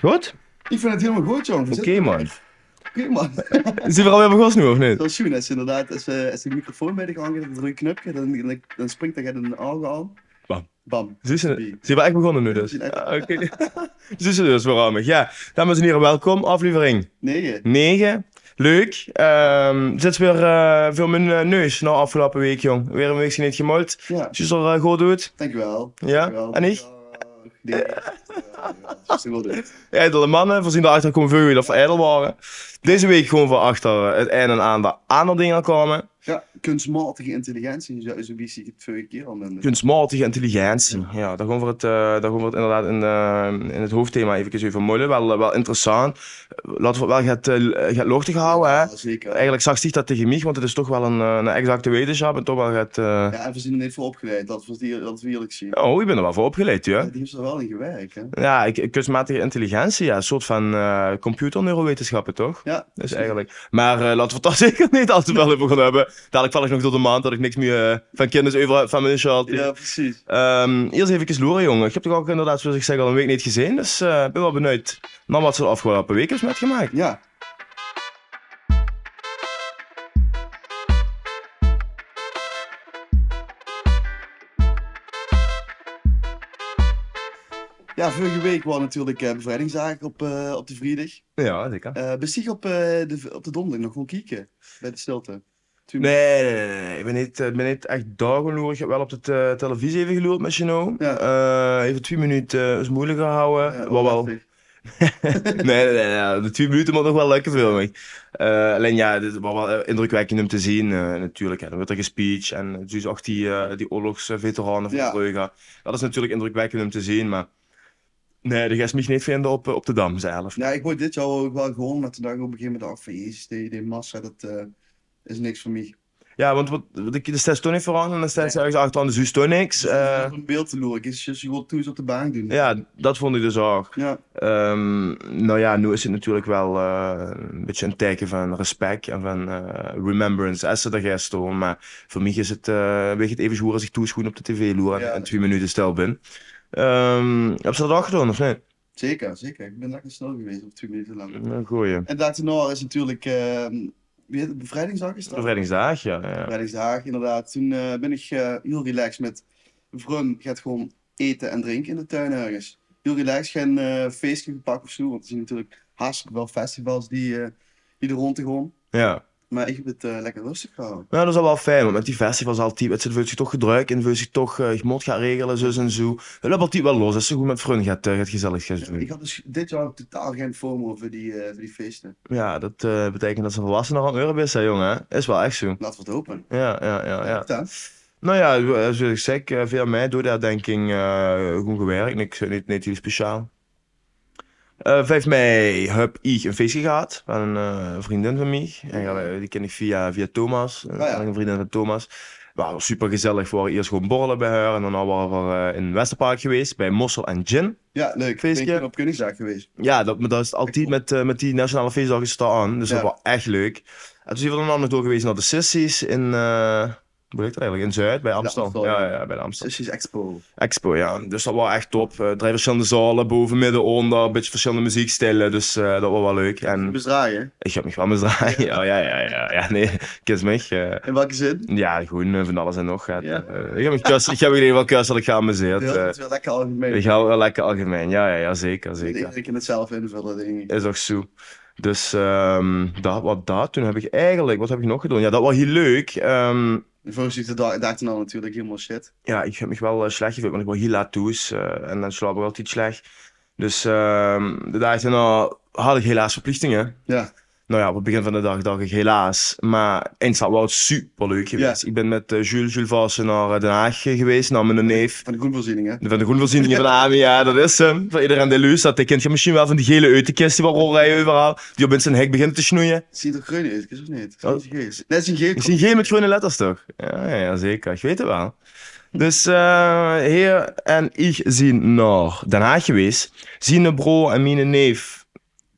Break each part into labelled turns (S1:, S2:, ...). S1: Goed?
S2: Ik vind het helemaal goed, jongen.
S1: Oké, man.
S2: Oké, man.
S1: Zijn we alweer begonnen nu, of niet?
S2: Dat is goed, als je inderdaad, als, eh, als de microfoon bij de gang is, dan druk je een knopje, dan, dan, dan springt dat in de ogen al.
S1: Bam.
S2: Bam.
S1: Zijn ze- zijn we echt begonnen nu dus? Ah, Oké. Zijn ze dus, waarom? Ja, dames en heren, welkom. Aflevering
S2: Negen.
S1: 9. Leuk. Ehm zit weer eh, veel mijn eh, neus na afgelopen week, jong. Weer een week niet gemold.
S2: Ja,
S1: Als je het al eh, goed doet.
S2: dankjewel.
S1: Ja?
S2: Dankjewel.
S1: En ik?
S2: Nee. Ja, ja, dat is heel goed.
S1: Ijdele mannen, voorzien daarachter komen veel of ijdel waren. Deze week gewoon van achter het einde aan de andere dingen kwamen.
S2: Ja, kunstmatige intelligentie, zo, zo wist ik het vorige keer al. noemde.
S1: Kunstmatige intelligentie. Ja, daar gaan we het, eh, daar gaan we het inderdaad in, eh, in het hoofdthema even over mollen. Wel, eh, wel interessant. Laten we het wel gaat, eh gaat luchtig houden. Hè?
S2: Ja, zeker.
S1: Eigenlijk zag zich dat tegen mij, want het is toch wel een, eh, een exacte wetenschap. En toch wel gaat... eh,
S2: Ja, en we zijn er niet voor opgeleid, dat was die, dat we eerlijk zien.
S1: Oh, ik ben er wel voor opgeleid, ja.
S2: Die heeft er wel in gewerkt, hè?
S1: Ja, ik- ik- kunstmatige intelligentie, ja, een soort van eh computerneurowetenschappen, toch?
S2: Ja,
S1: Dat is eigenlijk. Maar eh, laten we het daar zeker niet al te veel over gaan hebben. Dadelijk val ik nog tot een maand dat ik niks meer eh, van kennis over heb van mijn shirt.
S2: ja, precies.
S1: Ehm, eerst even loeren, jongen. Ik heb toch ook inderdaad, zoals ik zeg, al een week niet gezien. Dus eh, ik ben wel benieuwd naar wat ze de afgelopen dus week is metgemaakt.
S2: Ja, ja vorige week was natuurlijk eh, bevrijdingszaak op, eh, op de vrijdag.
S1: Ja, zeker.
S2: Eh bestieg op, eh, de, op de donderdag nog gewoon kieken bij de stilte. Toen-
S1: Nee, nee, nee, nee, nee. Ik ben niet, eh, ik ben niet echt dagenloer. Ik heb wel op de te- televisie even geloerd met Chino.
S2: Ja.
S1: Eh, even twee minuten eh, is moeilijk gehouden.
S2: eh,
S1: Wat wel.
S2: onrustig.
S1: nee, nee, nee, nee. De twee minuten moet nog wel lukken veel mee. Eh, alleen ja, dit was wel eh, indrukwekkend om te zien. eh, natuurlijk, hè. dan wordt er gespeech en eh, dus ook die, eh, die oorlogsveteranen van
S2: Ja.
S1: Brugge. Dat is natuurlijk indrukwekkend om te zien, maar... Nee, de gast mij niet vinden op, eh, op de Dam zelf.
S2: Ja, ik word dit jaar ook wel gewoon, maar toen dacht ik op een gegeven moment af van jezus, die, die massa, dat eh, is niks voor mij.
S1: Ja, want wat, wat ik, er staat toch niet vooraan en dan staat ze ergens achteraan, dus juist toch niks. Eh,
S2: Om een beeld te loeren, is je gewoon toes op de baan doen.
S1: ja, dat vond ik dus ook.
S2: Ja,
S1: Ehm, nou ja, nu is het natuurlijk wel eh, een beetje een teken van respect en van eh, remembrance als ze daar gisteren hoor. Maar voor mij is het, eh weet je het even goed als ik toeschoen op de tv loer en,
S2: Ja.
S1: en twee minuten stil ben. Ehm, heb ze dat ook gedaan of niet?
S2: zeker, zeker. Ik ben lekker snel geweest op twee minuten lang.
S1: Een Nou, goeie.
S2: En daarna is natuurlijk, eh, wie heet het, bevrijdingsdag is dat?
S1: Bevrijdingsdag, ja. ja.
S2: Bevrijdingsdag, inderdaad. Toen eh, ben ik eh, heel relaxed met Vrum gaat gewoon eten en drinken in de tuin ergens. Heel relaxed, geen eh, feestje gepakt of zo. Want er zijn natuurlijk hartstikke wel festivals die, eh, die er rond te gaan.
S1: ja.
S2: Maar ik heb het eh, lekker rustig gehouden.
S1: Nou, dat is al wel fijn, want met die festivals altijd, het zit wil zich toch gedruik en wil zich toch, eh, je moet gaan regelen, zus en zo. Dat loopt altijd wel los, als ze goed met vrienden gaat, eh, gaat gezellig gaan doen.
S2: Ik had dus dit jaar totaal geen FOMO voor die, eh, voor die feesten.
S1: Ja, dat eh, betekent dat ze volwassenen aan het eurobeest zijn, jongen. hè? Is wel echt zo.
S2: Laten we het hopen.
S1: Ja, ja, ja, ja.
S2: Vertel.
S1: Nou ja, eh, zoals ik zeg, eh, via mij door de herdenking eh gewoon gewerkt. Niks, eh, niet, niet heel speciaal. Eh 5 mei heb ik een feestje gehad van een eh, vriendin van mij. Eigenlijk, eh, die ken ik via, via Thomas, eh,
S2: ja.
S1: eigenlijk een vriendin van Thomas. Waar we super gezellig waren. Eerst gewoon borrelen bij haar en dan waren we eh, in Westerpark geweest bij Mossel en Gin.
S2: Ja, leuk.
S1: Feestje.
S2: Ben ik op Koningsdag geweest.
S1: Ja, dat, maar dat is altijd met, eh, met die nationale feestdag is het al aan. Dus
S2: Ja.
S1: dat was echt leuk. En toen zijn we dan ook nog door geweest naar de Sissies in... eh, hoe heet dat eigenlijk? In Zuid, bij Amsterdam.
S2: Amstel,
S1: ja,
S2: ja.
S1: ja, ja, bij de Amstel.
S2: Sessies Dus Expo.
S1: Expo, ja. Dus dat was echt top. Eh, drie verschillende zalen, boven, midden, onder. Een beetje verschillende muziekstijlen. Dus eh, dat was wel leuk. En
S2: Bezdraaien.
S1: ik heb me wel misdraaien. Ja, ja, ja, ja. ja nee, kies me. eh.
S2: In welke zin?
S1: ja, gewoon eh, van alles en nog. gaat.
S2: Ja.
S1: Eh, ik heb me kus, ik heb me in ieder geval kus dat ik geamuseerd.
S2: Ja,
S1: eh
S2: dat is wel lekker algemeen.
S1: ik hou wel lekker algemeen. Ja, ja, ja, zeker, zeker.
S2: Ik kan het zelf invullen, denk ik.
S1: Is ook zo. Dus ehm, dat, wat dat, toen heb ik eigenlijk, wat heb ik nog gedaan? Ja, dat was heel leuk. Ehm,
S2: Volgens mij is de dag, dag daarna natuurlijk helemaal shit.
S1: ja, ik heb me wel eh, slecht gevoeld, want ik was heel laat thuis eh, en dan slaap ik altijd slecht. Dus ehm, de dag daarna had ik helaas verplichtingen.
S2: Ja.
S1: Nou ja, op het begin van de dag dacht ik helaas. Maar eindstap was het superleuk geweest. Ik ben met eh, Jules, Jules Vassen naar eh, Den Haag eh, geweest, naar mijn neef.
S2: Van de groenvoorzieningen.
S1: Van de groenvoorzieningen van de AMI, ja, dat is hem. Voor iedereen de luus, dat kent je misschien wel van die gele uitenkist die waar rijden overal. Die op in zijn hek begint te snoeien.
S2: Zie je toch groen uit, is of niet?
S1: Oh.
S2: Dat is een geest. Dat is een
S1: Ik
S2: geest.
S1: zie geen met groene letters toch? Ja, ja, ja, zeker. Ik weet het wel. Dus eh heer en ik zien naar Den Haag geweest. Zien de bro en mijn neef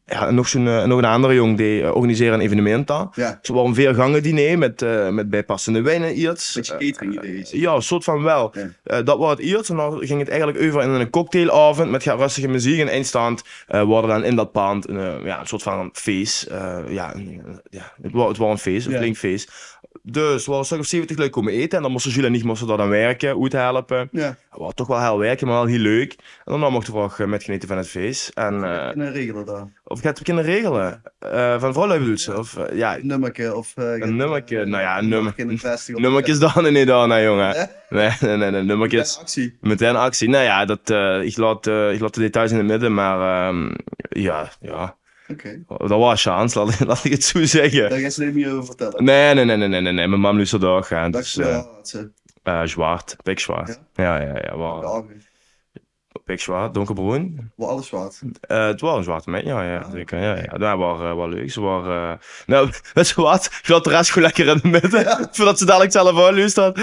S1: ja, en nog, zo'n, eh, nog een andere jong die eh, organiseren een evenement daar.
S2: Ja,
S1: Zo wel een veergangen diner met, eh, met bijpassende wijnen, iets.
S2: beetje catering ideeën.
S1: Ja, een soort van wel.
S2: Ja.
S1: Eh, dat was het eerst. En dan ging het eigenlijk over in een cocktailavond met ja, rustige muziek. En eindstand eh worden dan in dat pand een, eh, ja, een soort van feest. Eh, ja, een- ja, het was het was een feest, een
S2: Ja.
S1: flink feest. Dus we waren een stuk of 70 leuk komen eten. En dan moesten jullie niet moesten daar dan werken, hoe helpen.
S2: Ja,
S1: Het was toch wel heel werken, maar wel heel leuk. En dan mochten we ook eh, met genieten van het feest. En, eh,
S2: en dan regelen we dat.
S1: of gaat het kunnen regelen? Eh, van vrouw bedoelt ze? Of, eh, ja,
S2: Een nummerke of... eh,
S1: Een nummerke, nou ja, een nummer-
S2: in een festival.
S1: nummertjes dan en niet dan, hè, jongen. Nee, nee, nee, nee,
S2: Ja,
S1: nummertjes.
S2: een actie.
S1: Meteen actie. Nou ja, dat, eh, ik, laat, eh, ik laat de details in het midden, maar ehm, ja, ja,
S2: Oké,
S1: dat was een chance, laat, laat ik het zo zeggen.
S2: daar ga je het niet meer over vertellen.
S1: Nee, nee, nee, nee, nee, nee, nee. mijn mam luistert daar gaan.
S2: Dat is
S1: Dus,
S2: wel
S1: eh
S2: wat ze-
S1: eh, zwart, pikzwart. Ja, ja, ja, ja
S2: Ja,
S1: pikzwart, donkerbruin.
S2: Wel alles wat.
S1: Eh, het was een zwarte meid, ja, ja,
S2: Ah,
S1: zeker. Ja, ja. Dat was eh, wel leuk. Ze was, eh, nou, weet je wat? Ik laat de rest gewoon lekker in de midden, voordat ze dadelijk zelf aanluistert. Eh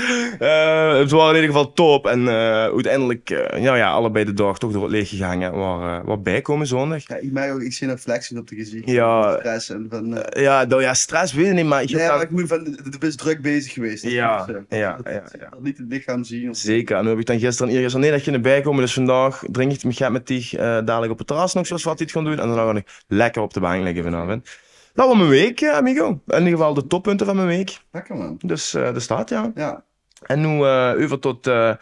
S1: ze waren in ieder geval top. En eh, uiteindelijk, eh, nou ja, allebei de dag toch door het leeg gegaan. hè. Waar, eh, wat bijkomen zondag.
S2: Ja, ik merk ook, ik zie nog flexen op de gezicht.
S1: Ja.
S2: Stress en van... eh,
S1: Ja, nou ja, stress weet ik niet, maar ik heb
S2: nee,
S1: daar-
S2: maar ik moet van, het is druk bezig geweest. Dat
S1: Ja,
S2: is, eh,
S1: ja,
S2: dat-
S1: ja, ja.
S2: dat Niet het lichaam zien. Of,
S1: Zeker. En nu heb ik dan gisteren eerder gezegd, nee, dat je erbij komen. Dus vandaag drink ik het met Gert met die eh, dadelijk op het terras nog zoals wat hij het gaan doen. En dan ga ik lekker op de bank liggen vanavond. Dat was mijn week, eh, amigo. In ieder geval de toppunten van mijn week.
S2: lekker man.
S1: Dus eh dat staat, ja.
S2: Ja,
S1: En nu eh, over tot eh,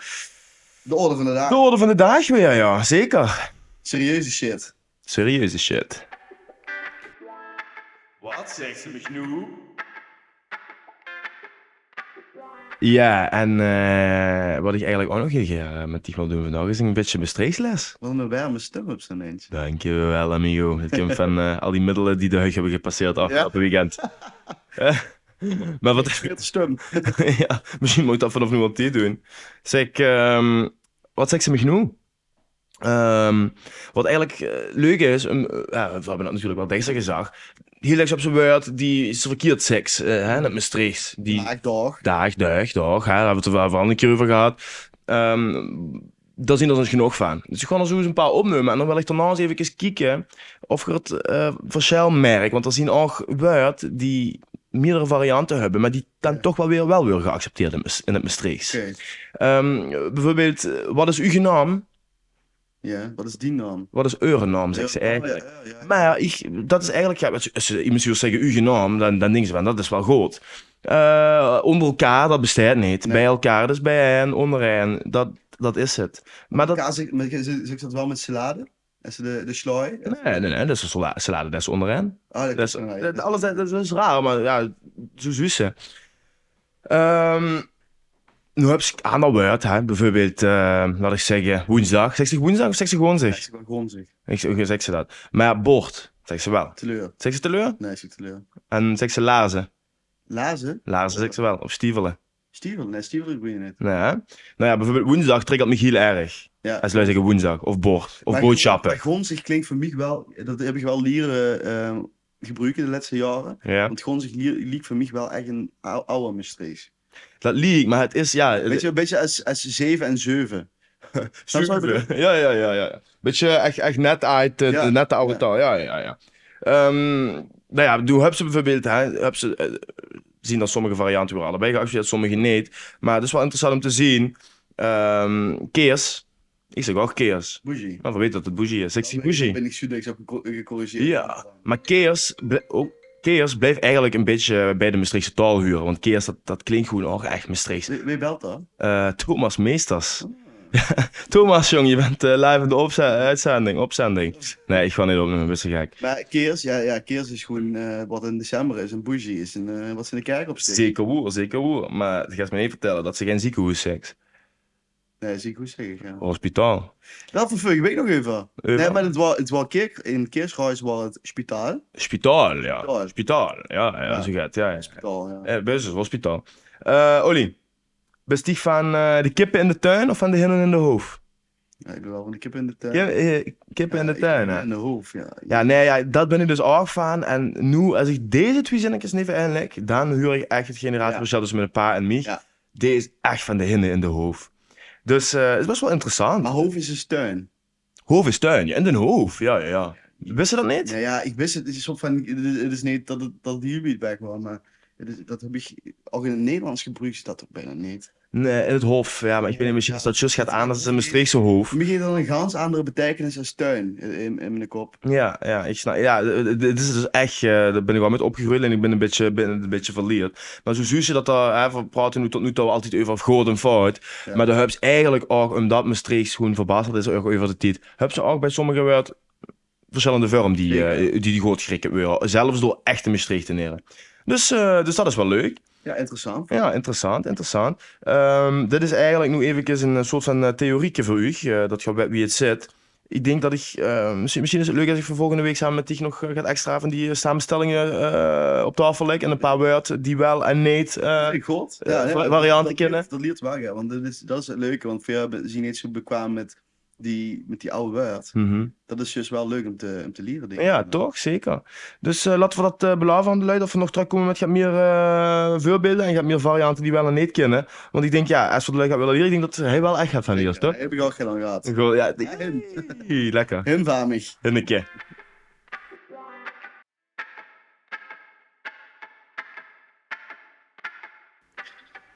S2: de orde van de dag.
S1: de orde van de dag weer, ja. Zeker.
S2: Serieuze shit.
S1: Serieuze shit. Wat zegt ze me nu? Ja, en eh, wat ik eigenlijk ook nog een keer eh, met die wil doen vandaag is een beetje bestreeksles.
S2: Wat een warme stem-ups ineens.
S1: Dankjewel, amigo. Het komt van eh, al die middelen die de huig hebben gepasseerd afgelopen weekend. Eh, maar wat...
S2: Verkeerd stem.
S1: ja, misschien moet ik dat vanaf nu op die doen. Zeg, ehm, wat zegt ze me genoeg? Ehm, wat eigenlijk eh, leuk is, ehm, eh, ja, we hebben dat natuurlijk wel dichter gezag. Heel erg op zijn woord, die is verkeerd seks, eh, hè, met Maastricht. Die
S2: Maar ik dacht,
S1: dag, dag, dag, hè, daar hebben we het er wel een keer over gehad. Ehm, daar zien we ons genoeg van. Dus ik ga er zo eens een paar opnemen en dan wil ik daarna eens even kijken of ik het eh, verschil merk. Want er zien ook woord die meerdere varianten hebben, maar die dan toch wel weer, wel weer geaccepteerd in Maas- in het Maastrichts.
S2: oké.
S1: Ehm, bijvoorbeeld, eh, wat is uw naam?
S2: Ja, wat is die naam?
S1: Wat is uw naam, zegt ze eigenlijk.
S2: Oh, ja, ja, ja.
S1: Maar ik, dat is eigenlijk, ja, als- als ze iemand zou zeggen uw naam, dan, dan denken ze van dat is wel goed. Eh, onder elkaar, dat bestaat niet.
S2: Nee.
S1: Bij elkaar, dus bij hen, onder hen, dat, dat is het. Maar dat,
S2: Kaas, ik- maar ik- zeg ik dat wel met salade? En ze de, de slooi?
S1: nee, nee, nee, dat is een salade, salade dat is onder hen.
S2: Ah, dat
S1: Dat is,
S2: kan wel, ja.
S1: dat, alles, dat, dat is raar, maar ja, zo zussen. Ehm nu heb ik aan dat woord, hè. bijvoorbeeld, eh, laat ik zeggen, woensdag. Zeg ze woensdag of zeg ze gewoon
S2: Ja,
S1: zeg?
S2: is wel gronzig.
S1: Ik zeg, zeg ze dat. Maar ja, bord, zeg ze wel.
S2: Teleur.
S1: Zeg ze teleur?
S2: Nee, is ik teleur.
S1: En zeg ze lazen.
S2: Lazen?
S1: Laarzen zeg ze wel, of stievelen.
S2: Stiefel? Nee, stiefel ik je niet.
S1: Nee, hè? Nou ja, bijvoorbeeld woensdag triggert Michiel erg.
S2: Ja.
S1: Als wij zeggen woensdag, of bord, of
S2: Maar
S1: boodschappen.
S2: gron- maar Gronzig klinkt voor mij wel, dat heb ik wel leren eh, gebruiken de laatste jaren.
S1: Ja.
S2: Want gronzig liep voor mij wel echt een ou- oude mysterie.
S1: Eh, Dat lieg, maar het is, ja...
S2: Weet je, een beetje als, als 7 en 7.
S1: snap je wat ik
S2: super.
S1: bedoel? Ja, ja, ja, ja. Beetje echt, echt net uit, eh,
S2: Ja.
S1: de net de oude
S2: Ja.
S1: taal. Ja, ja, ja. Ehm, nou ja, doe heb ze bijvoorbeeld, hè, heb ze, eh, zien dat sommige varianten worden allebei geaccepteerd, sommige niet. Maar het is wel interessant om te zien. Ehm keers. Ik zeg ook keers.
S2: Bougie.
S1: Maar we weten dat het bougie is. Ik zeg
S2: Ik
S1: bougie.
S2: ben ik Sudex ook gecor- gecorrigeerd.
S1: Ja, maar Keers, bl- ook- Keers blijft eigenlijk een beetje bij de Maastrichtse taal huren. Want Keers, dat, dat klinkt gewoon ook echt Maastrichts.
S2: Wie wie belt dan?
S1: Eh, Thomas Meesters. Thomas, jong, je bent eh, live in de opze- uitzending. Opzending. Nee, ik ga niet opnemen, best gek.
S2: Maar Keers, ja, ja, Keers is gewoon eh, wat in december is. Een bougie is een, eh, wat ze in de kerk opsteken.
S1: Zeker woer, zeker woer. Maar het gaat me niet vertellen dat ze geen ziekenhuis seks.
S2: Nee, zie ik goed zeggen. Ja.
S1: Hospitaal. Eh,
S2: Dat van vorige week nog even.
S1: Even.
S2: Nee, maar het was, het was kerk, in Keershuis was het spitaal.
S1: Spitaal, ja.
S2: Spitaal.
S1: Spitaal, ja, ja,
S2: Ja.
S1: zo gaat ja. ja.
S2: Spitaal, ja.
S1: Eh, best is hospitaal. Eh Olly, best die van eh, de kippen in de tuin of van de hinnen in de hoofd?
S2: Ja, Ik ben wel van de kip in de tuin.
S1: Kip- eh, Kippen in de
S2: Ja,
S1: tuin,
S2: ik-
S1: hè?
S2: In de hoofd, ja.
S1: Ja, nee, ja, dat ben ik dus ook van. En nu, als ik deze twee zinnetjes even inleg, dan huur ik echt het
S2: Ja.
S1: generatieverschil tussen mijn pa en mij.
S2: Ja.
S1: Deze is echt van de hinden in de hoofd. Dus eh, het is best wel interessant.
S2: Maar hoofd is een steun.
S1: Hoofd is tuin, ja, in de hoofd. Ja, ja, ja. Wist je dat niet?
S2: Ja, ja, ik wist het. Het is, soort van, het is, het is niet dat het, dat het hier niet bij kwam, maar het is, dat heb ik, ook in het Nederlands gebruik is dat toch bijna niet.
S1: Nee, in het hof. Ja, maar ik weet niet, misschien als dat just gaat aan, dat is een Maastrichtse hof.
S2: Voor mij heeft dat een ganz andere betekenis als tuin in, in, in mijn kop.
S1: Ja, ja, ik snap. Ja, d- d- dit is dus echt, eh, daar ben ik wel met opgegroeid en ik ben een beetje, ben een beetje verleerd. Maar zo zie je dat daar, hè, we praten nu tot nu toe altijd over goed en fout.
S2: Ja.
S1: Maar de hubs eigenlijk ook, omdat Maastricht gewoon verbasterd is ook over de tijd, hebben ze ook bij sommige woord verschillende vorm die, eh,
S2: Zeker.
S1: die die goed schrikken worden. Zelfs door echte Maastrichtenaren. Dus, eh, dus dat is wel leuk.
S2: Ja, interessant.
S1: Ja, interessant, interessant. Ehm, dit is eigenlijk nu even een eh, soort van eh, theorieke voor u, eh, dat gaat bij wie het zit. Ik denk dat ik, eh, misschien, misschien is het leuk als ik voor volgende week samen met Tig nog eh, gaat extra van die eh, samenstellingen eh, op tafel leg en een paar woord die wel en niet. eh,
S2: Ik God.
S1: eh, va- varianten
S2: dat leert-
S1: kennen.
S2: Dat leert wel, ja, want dat is, dat is het leuke, want veel ben- zijn niet zo bekwaam met die, met die oude woord.
S1: mhm.
S2: Dat is dus wel leuk om te, om te leren, denk ik.
S1: Ja, toch? Zeker. Dus eh, laten we dat eh beloven aan de luid of we nog terugkomen met gaat meer eh, voorbeelden en gaat meer varianten die wel en niet kennen. Want ik denk, ja, als we de luid gaan willen leren, ik denk dat hij wel echt gaat van leren,
S2: Ja,
S1: toch?
S2: heb ik ook geen lang gehad.
S1: Gewoon, ja,
S2: hem.
S1: Hey, lekker.
S2: Hem van mij.
S1: Hinneke.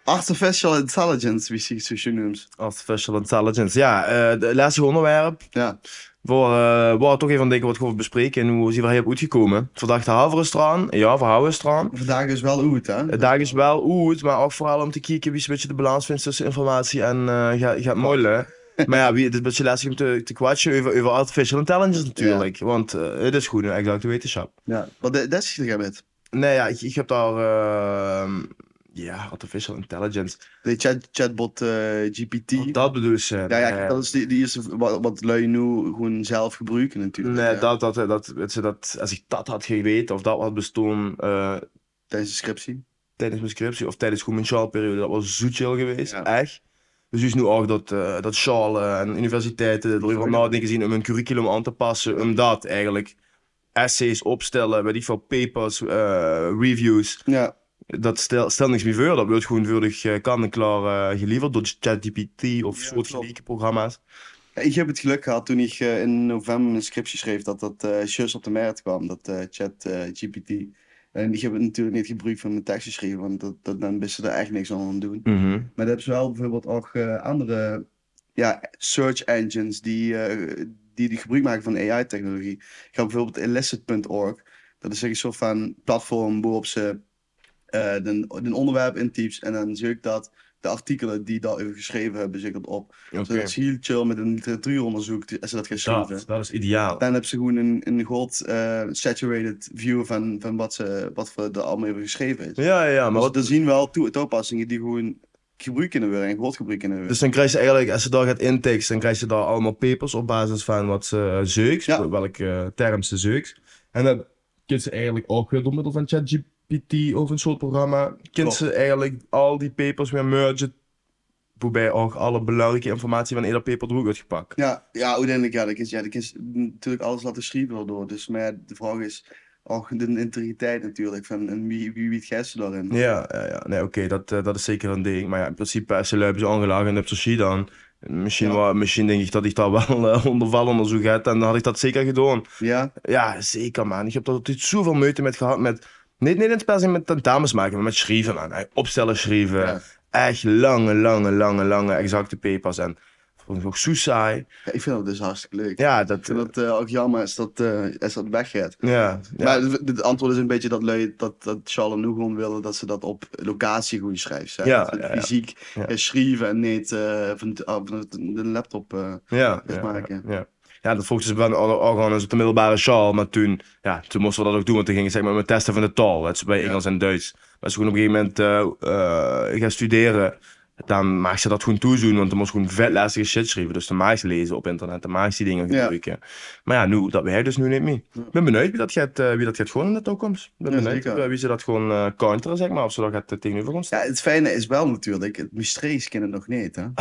S2: Artificial intelligence, wie zich zo schön noemt.
S1: Artificial intelligence. Ja, eh de laatste onderwerp.
S2: Ja,
S1: Voor, eh waar we toch even aan denken wat we over bespreken en hoe zijn we hier op uitgekomen. Vandaag de haver is eraan. Ja, we houden is eraan.
S2: vandaag is wel goed, hè?
S1: Het dag is wel goed, maar ook vooral om te kijken wie is een beetje de balans vindt tussen informatie en eh gaat, gaat mollen. Maar ja, wie, het is een beetje lastig om te, te kwatschen over, over artificial intelligence natuurlijk. Want eh, het is goed een exacte wetenschap.
S2: Ja. Wat dat is het met?
S1: Nee, ja, ik, ik heb daar... eh, ja, artificial intelligence.
S2: De chat, chatbot eh, GPT.
S1: Oh, Dat bedoel ze.
S2: ja, ja,
S1: Eh,
S2: dat is die, die eerste wat, wat lui nu gewoon zelf gebruiken natuurlijk.
S1: Nee,
S2: ja.
S1: dat, dat, dat, weet je, dat, als ik dat had geweten of dat had bestaan eh,
S2: Tijdens de scriptie.
S1: tijdens mijn scriptie of tijdens gewoon mijn sjaalperiode, dat was zo chill geweest,
S2: Ja.
S1: echt. Dus is nu ook dat, eh dat sjaal eh, en universiteiten erover
S2: Ja.
S1: nadenken zien om hun curriculum aan te passen, om dat eigenlijk essays opstellen, weet ik veel, papers, eh, reviews,
S2: Ja,
S1: dat stel, stel niks meer voor. Dat wordt gewoon veurig eh, kan en klaar eh, geleverd door ChatGPT of
S2: Ja,
S1: soortgelijke programma's.
S2: Ja, ik heb het geluk gehad toen ik eh, in november mijn scriptie schreef dat dat eh just op de markt kwam, dat eh, chat eh, GPT. En ik heb het natuurlijk niet gebruikt van mijn tekstjes schrijven, want dat, dat, dan wisten ze er echt niks aan aan doen.
S1: Mhm.
S2: Maar dat is wel bijvoorbeeld ook eh, andere ja, search engines die, eh, die, die gebruik maken van AI-technologie. Ik ga bijvoorbeeld illicit.org. Dat is een soort van platform waarop ze eh een, een onderwerp intypt en dan zie ik dat de artikelen die daarover geschreven hebben, zie ik dat op.
S1: Oké.
S2: Dus dat is heel chill met een literatuuronderzoek die- als ze dat gaan schrijven.
S1: Dat, dat is ideaal.
S2: Dan hebben ze gewoon een, een god eh, saturated view van, van wat, ze, wat voor er allemaal over geschreven is.
S1: Ja, ja, maar
S2: Maar
S1: wat,
S2: er zien wel toe, toepassingen die gewoon gebruikt kunnen worden en groot gebruikt kunnen worden.
S1: Dus dan krijg je eigenlijk, als je daar gaat inteksten, dan krijg je daar allemaal papers op basis van wat ze eh, zeukt,
S2: Ja.
S1: welke eh, term ze zeukt. En dan kun je eigenlijk ook weer door middel van ChatGPT of een soort programma, kun
S2: Klopt.
S1: ze eigenlijk al die papers weer mergen, waarbij ook alle belangrijke informatie van ieder paper eruit wordt gepakt.
S2: ja, ja, uiteindelijk, ja, dat is, ja, dat is natuurlijk alles laten schrijven daardoor. Dus maar ja, de vraag is ook de integriteit natuurlijk van en wie, wie weet jij ze daarin.
S1: Ja, ja, ja. nee, oké, dat, eh, dat is zeker een ding. Maar ja, in principe, als ze luipen ze aangelagen en op sushi dan, misschien,
S2: Ja.
S1: wel, misschien denk ik dat ik daar wel eh, onder valonderzoek had en dan had ik dat zeker gedaan.
S2: Ja,
S1: Ja, zeker man. Ik heb daar altijd zoveel moeite met gehad met... Niet, niet eens per se met tentamens maken, maar met schrijven man. Echt Opstellen schrijven.
S2: Ja.
S1: Echt lange, lange, lange, lange exacte papers. En vond ik ook zo saai.
S2: Ja, ik vind dat dus hartstikke leuk.
S1: Ja, dat...
S2: Ik vind dat eh, ook jammer is dat, eh is dat weggaat.
S1: ja, ja.
S2: Maar het- het antwoord is een beetje dat lui, dat, dat Charles en Nougon willen dat ze dat op locatie goed schrijft. hè.
S1: Ja,
S2: Dat ze het
S1: ja, ja.
S2: fysiek
S1: Ja.
S2: eh, schrijven en niet eh, van, de- ah, van de- de laptop. eh.
S1: ja,
S2: dat
S1: ja,
S2: maken.
S1: Ja, ja. Ja, dat volgens ze wel ook aan ons op de middelbare schaal. Maar toen, ja, toen moesten we dat ook doen. Want toen gingen ze zeg maar met testen van de taal. Dat is bij
S2: Ja.
S1: Engels en Duits. Maar als ze gewoon op een gegeven moment eh, eh, gaan studeren... Dan maakt ze dat gewoon toezoen, want dan moest gewoon vet lastige shit schrijven. Dus dan maakt ze lezen op internet, dan maakt ze die dingen
S2: Ja.
S1: gebruiken. Maar ja, nu, dat werkt dus nu niet meer.
S2: Ja.
S1: Ik ben benieuwd wie dat gaat, eh, wie dat gaat gewoon in de toekomst. Ik ben
S2: Ja,
S1: benieuwd
S2: zeker.
S1: eh, wie ze dat gewoon eh counteren, zeg maar. Of ze dat gaat eh, tegenover ons
S2: Ja, het fijne is wel natuurlijk, het mysteries kennen nog niet. Hè?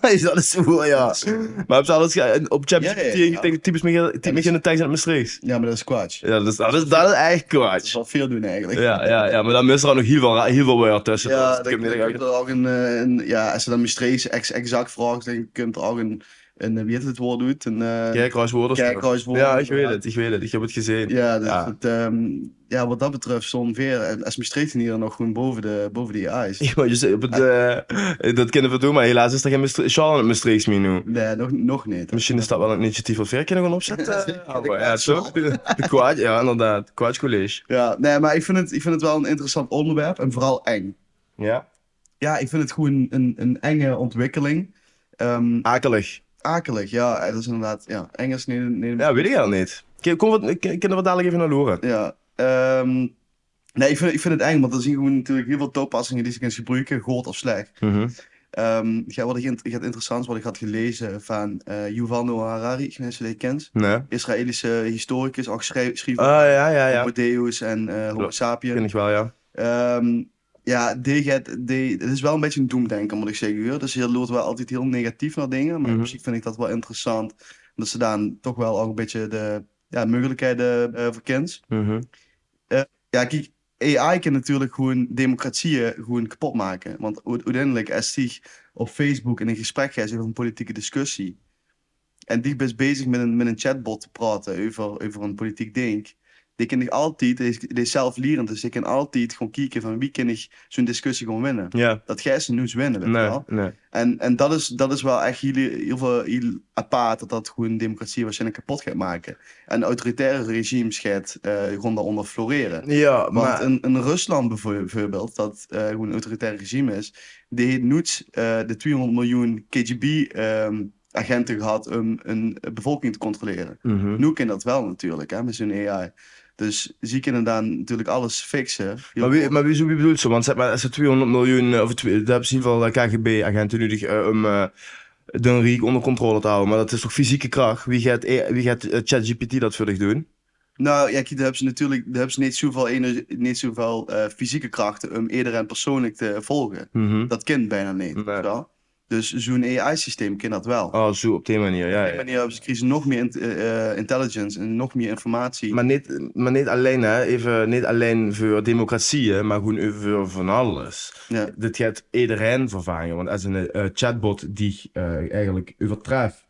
S2: eh,
S1: is dat is zo, ja. Maar op, alles, ge- op ChatGPT
S2: Ja, ja, ja. dus-
S1: ingetekend, typisch me- typisch in de tekst en het Maastrichts.
S2: Ja, maar dat is kwatsch.
S1: Ja, dat is, dat is, dat is echt
S2: Dat
S1: kwaad.
S2: zal veel doen eigenlijk.
S1: Ja, ja, ja, maar dan mist er ook nog heel veel, ra- heel veel weer tussen.
S2: Ja,
S1: Dus ik
S2: dan
S1: heb niet
S2: komt
S1: echt-
S2: er ook een, eh, een- ja, als ze dan mysteries ex- exact vraagt, dan komt er ook een, ein, äh, wie heißt das Wort, gut? Ein äh,
S1: Kerkreuzwoorders.
S2: Kerkreuzwort.
S1: Ja, ich will es, ich will es. Ich habe het gezien.
S2: Ja, dat,
S1: Ja.
S2: dat, ehm, ja, wat dat betreft stond weer eh, Esmistreet hier nog gewoon boven de, boven de AI's.
S1: Ja, maar dus op het, eh, dat kunnen we doen, maar helaas is er geen Maastricht- Charles in het Maastrichts meer nu.
S2: Nee, nog, nog niet.
S1: Misschien is dat wel een initiatief wat ver kunnen gaan opzetten.
S2: Zeker, de
S1: ja, toch? De kwaad, ja, inderdaad. Kwaad college.
S2: Ja, nee, maar ik vind, het, ik vind het wel een interessant onderwerp en vooral eng.
S1: Ja.
S2: Ja, ik vind het gewoon een, een enge ontwikkeling. Ehm,
S1: Akelig.
S2: akelig, ja, dat is inderdaad, ja, eng is niet... niet
S1: Ja, weet ik al niet. K- Kom, wat, k- kunnen we dadelijk even naar Loren?
S2: Ja, ehm, nee, ik vind, ik vind het eng, want dan zie je gewoon natuurlijk heel veel toepassingen die ze kunnen gebruiken, goed of slecht. Ehm, ik heb wat, ik, ik had interessants wat ik had gelezen van eh Yuval Noah Harari, ik weet niet of je die kent.
S1: Nee.
S2: Israëlische historicus, ook schrij- schrijver
S1: Ah, ja, ja,
S2: van
S1: ja.
S2: Homo Deus en eh Homo
S1: Klopt.
S2: Sapien.
S1: Ken ik wel, ja.
S2: Ehm, ja, die gaat- die- het is wel een beetje een doemdenken, moet ik zeggen. hoor. Dus je loopt wel altijd heel negatief naar dingen. Maar
S1: Mhm.
S2: in principe vind ik dat wel interessant. Dat ze dan toch wel ook een beetje de ja, mogelijkheden eh verkent.
S1: Mhm.
S2: Ja, kijk, AI kan natuurlijk gewoon democratieën gewoon kapot maken. Want u- uiteindelijk, als die op Facebook in een gesprek gaat over een politieke discussie. En die is bezig met een, met een chatbot te praten over, over een politiek ding. Die kan ik altijd, die is, die is zelflerend, dus ik kan altijd gewoon kijken van wie kan ik zo'n discussie gewoon winnen.
S1: Ja.
S2: Dat jij ze nu winnen, weet je
S1: Nee,
S2: wel.
S1: nee.
S2: En, en dat, is, dat is wel echt heel, heel, veel, heel apart dat dat gewoon democratie waarschijnlijk kapot gaat maken. En autoritaire regimes gaat eh, gewoon daaronder floreren.
S1: Ja,
S2: Want
S1: maar...
S2: een, een Rusland bijvo- bijvoorbeeld, dat eh, gewoon een autoritair regime is, die heeft nooit eh, de 200 miljoen KGB-agenten ehm, gehad om een bevolking te controleren.
S1: Mhm.
S2: Nu kan dat wel natuurlijk, hè, met zo'n AI. Dus zie ik inderdaad natuurlijk alles fixen.
S1: Maar wie, maar wie, wie bedoelt ze? Want zeg maar, als er 200 miljoen, eh, of tw- daar hebben ze in ieder geval eh, KGB-agenten nodig eh, om eh Den Riek onder controle te houden. Maar dat is toch fysieke kracht? Wie gaat, eh, wie gaat eh, ChatGPT dat voor zich doen?
S2: Nou ja, kijk, daar hebben ze natuurlijk daar hebben ze niet zoveel, energie, niet zoveel eh, fysieke krachten om iedereen persoonlijk te volgen.
S1: Mhm.
S2: Dat kan bijna niet.
S1: Nee.
S2: weet je wel? Dus zo'n AI-systeem kan dat wel.
S1: Oh, zo, op die manier, ja.
S2: Op die
S1: ja.
S2: manier hebben ze kiezen nog meer int- eh, eh, intelligence en nog meer informatie.
S1: Maar niet, maar niet alleen, hè. Even, niet alleen voor democratieën, maar gewoon voor van alles.
S2: Ja.
S1: Dit gaat iedereen vervangen. Want als een eh, chatbot die eh, eigenlijk overtreft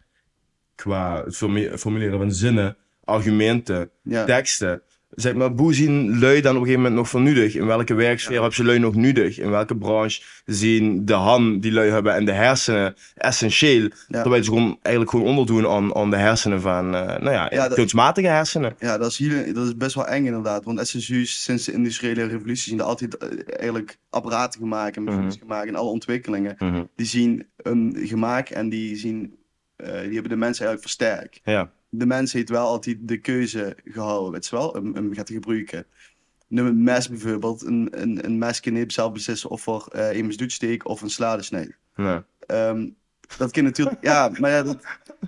S1: qua het formu- formuleren van zinnen, argumenten,
S2: Ja,
S1: teksten. Zeg maar, hoe zien lui dan op een gegeven moment nog van nodig? In welke werksfeer hebben ze lui nog nodig? In welke branche zien de hand die lui hebben en de hersenen essentieel? Terwijl ze gewoon, eigenlijk gewoon onderdoen aan, aan de hersenen van, eh, nou ja,
S2: Ja, dat-
S1: kunstmatige hersenen.
S2: ja dat, is heel, dat is best wel eng inderdaad. Want SSU's sinds de industriële revolutie zien er altijd eh, eigenlijk apparaten gemaakt en machines
S1: Mhm.
S2: gemaakt en alle ontwikkelingen.
S1: Mhm.
S2: Die zien een gemaakt en die, zien, eh, die hebben de mensen eigenlijk versterkt.
S1: Ja.
S2: De mens heeft wel altijd de keuze gehouden, weet je wel, om, om gaat te gebruiken. Nu een mes bijvoorbeeld, een, een, een mes kan niet zelf beslissen of er eh een doet steek of een slade snijdt.
S1: Nee.
S2: Ehm, dat kan natuurlijk, ja, maar ja, dat,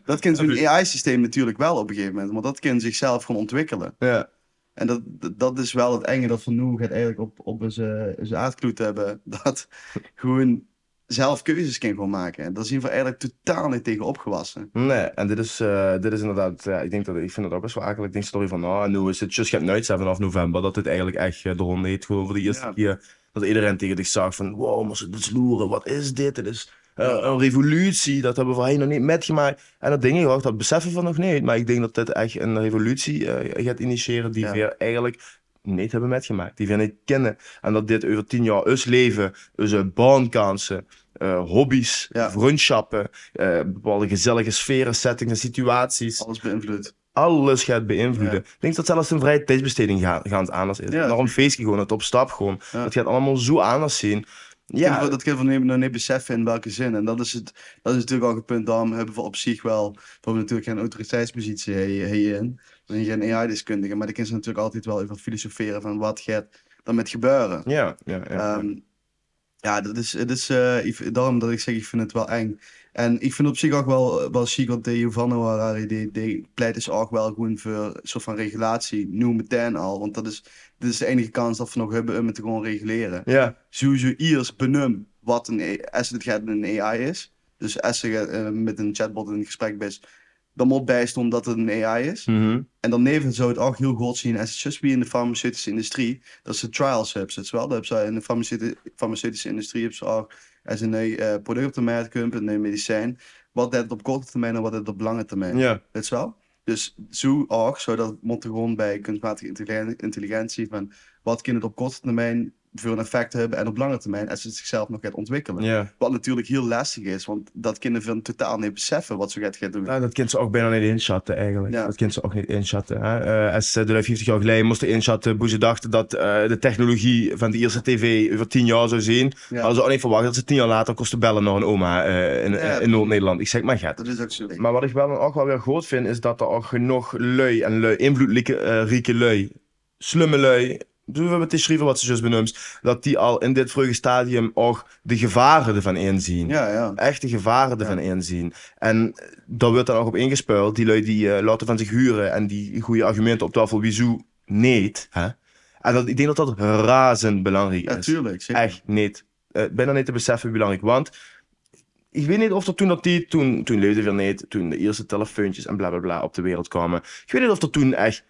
S2: dat kan zo'n AI-systeem natuurlijk wel op een gegeven moment, want dat kan zichzelf gewoon ontwikkelen.
S1: Ja.
S2: En dat, dat- dat is wel het enge dat Van Nieuw gaat eigenlijk op, op zijn, zijn aardkloed hebben, dat gewoon zelf keuzes kan gewoon maken. En daar zien we eigenlijk totaal niet tegen opgewassen.
S1: Nee, en dit is, eh, dit is inderdaad, ja, ik, denk dat, ik vind dat ook best wel akelig. Ik denk story van, nou, nu is het just gaat nooit zijn vanaf november, dat dit eigenlijk echt eh, de ronde heet. Gewoon voor de eerste
S2: Ja.
S1: keer dat iedereen tegen dich zag van, wow, maar ze- dit is loeren, wat is dit? Dit is eh, een revolutie, dat hebben we voorheen nog niet metgemaakt. En dat ding, hoor, dat beseffen we nog niet, maar ik denk dat dit echt een revolutie eh, gaat initiëren die
S2: Ja.
S1: weer eigenlijk niet hebben metgemaakt, die we niet kennen. En dat dit over tien jaar ons leven, onze baankansen, eh, hobby's,
S2: Ja.
S1: vriendschappen, eh, bepaalde gezellige sferen, settingen, situaties.
S2: Alles beïnvloedt.
S1: Alles gaat beïnvesteden.
S2: Ja.
S1: Ik denk dat zelfs een vrije tijdsbesteding ga- gaand anders is.
S2: Ja.
S1: Naar een feestje gewoon, het op stap gewoon.
S2: Ja.
S1: Dat gaat allemaal zo anders zien.
S2: Ja.
S1: Ja,
S2: Dat kunnen we nog niet- nog niet beseffen in welke zin. En dat is, het, dat is natuurlijk ook het punt. Daarom hebben we op zich wel. We hebben natuurlijk geen autoriteitspositie hier- hierin. We zijn geen AI-deskundige. Maar daar kunnen ze natuurlijk altijd wel over filosoferen. van wat gaat dan met gebeuren.
S1: ja, ja. ja.
S2: Ehm, ja, dat is, het is eh, ik- daarom dat ik zeg, ik vind het wel eng. En ik vind het op zich ook wel, wel chic, want de Giovanni Harari die, die pleit dus ook wel gewoon voor een soort van regulatie, nu meteen al. Want dat is, dit is de enige kans dat we nog hebben om het te gewoon reguleren
S1: ja.
S2: sowieso eerst benum wat een, A- als het gaat een AI is. Dus als je eh, met een chatbot in gesprek bent, dan moet bijstaan dat het een AI is.
S1: Mhm.
S2: En dan zou het ook heel goed zien als het just wie in de farmaceutische industrie, dat ze trials hebben, weet je wel. Dat hebben ze in de farmaceutische, farmaceutische industrie hebben ze ook als een nieuw eh, product op de markt komt, een nieuw medicijn. wat deed het op korte termijn en wat deed het op lange termijn.
S1: Ja.
S2: Weet je wel? Dus zoek ook, zodat Montegon bij kunstmatige intelligen- intelligentie, van wat kan het op korte termijn voor een effect hebben en op lange termijn, als ze zichzelf nog gaat ontwikkelen.
S1: ja.
S2: Wat natuurlijk heel lastig is, want dat kinderen van totaal niet beseffen wat ze gaat gaan doen.
S1: Nou, dat kind ze ook bijna niet inschatten eigenlijk.
S2: Ja.
S1: Dat kind ze ook niet inschatten. Hè? Eh, als ze de 50 jaar geleden moesten inschatten hoe ze dachten dat eh, de technologie van de Ierse tv over 10 jaar zou zien,
S2: Ja.
S1: hadden ze ook niet verwacht dat ze 10 jaar later kosten bellen naar een oma eh, in,
S2: Ja.
S1: in Noord-Nederland. Ik zeg maar gaat.
S2: Dat is ook zo.
S1: Maar wat ik wel ook wel weer goed vind, is dat er ook genoeg lui en lui, invloedrijke eh, rieke lui, slumme lui, doen we met die schrijven wat ze juist benoemt, dat die al in dit vroege stadium ook de gevaren ervan inzien.
S2: Ja, ja.
S1: Echte gevaren ervan inzien. En daar wordt dan ook op ingespeeld. Die lui die eh, laten van zich huren en die goede argumenten op tafel, wieso niet. Hè? En dat, ik denk dat dat razend belangrijk is
S2: Natuurlijk. zeker.
S1: echt niet. eh bijna niet te beseffen hoe belangrijk. Want ik weet niet of er toen dat die, toen, toen leefde weer niet, toen de eerste telefoontjes en bla bla bla op de wereld kwamen. Ik weet niet of er toen echt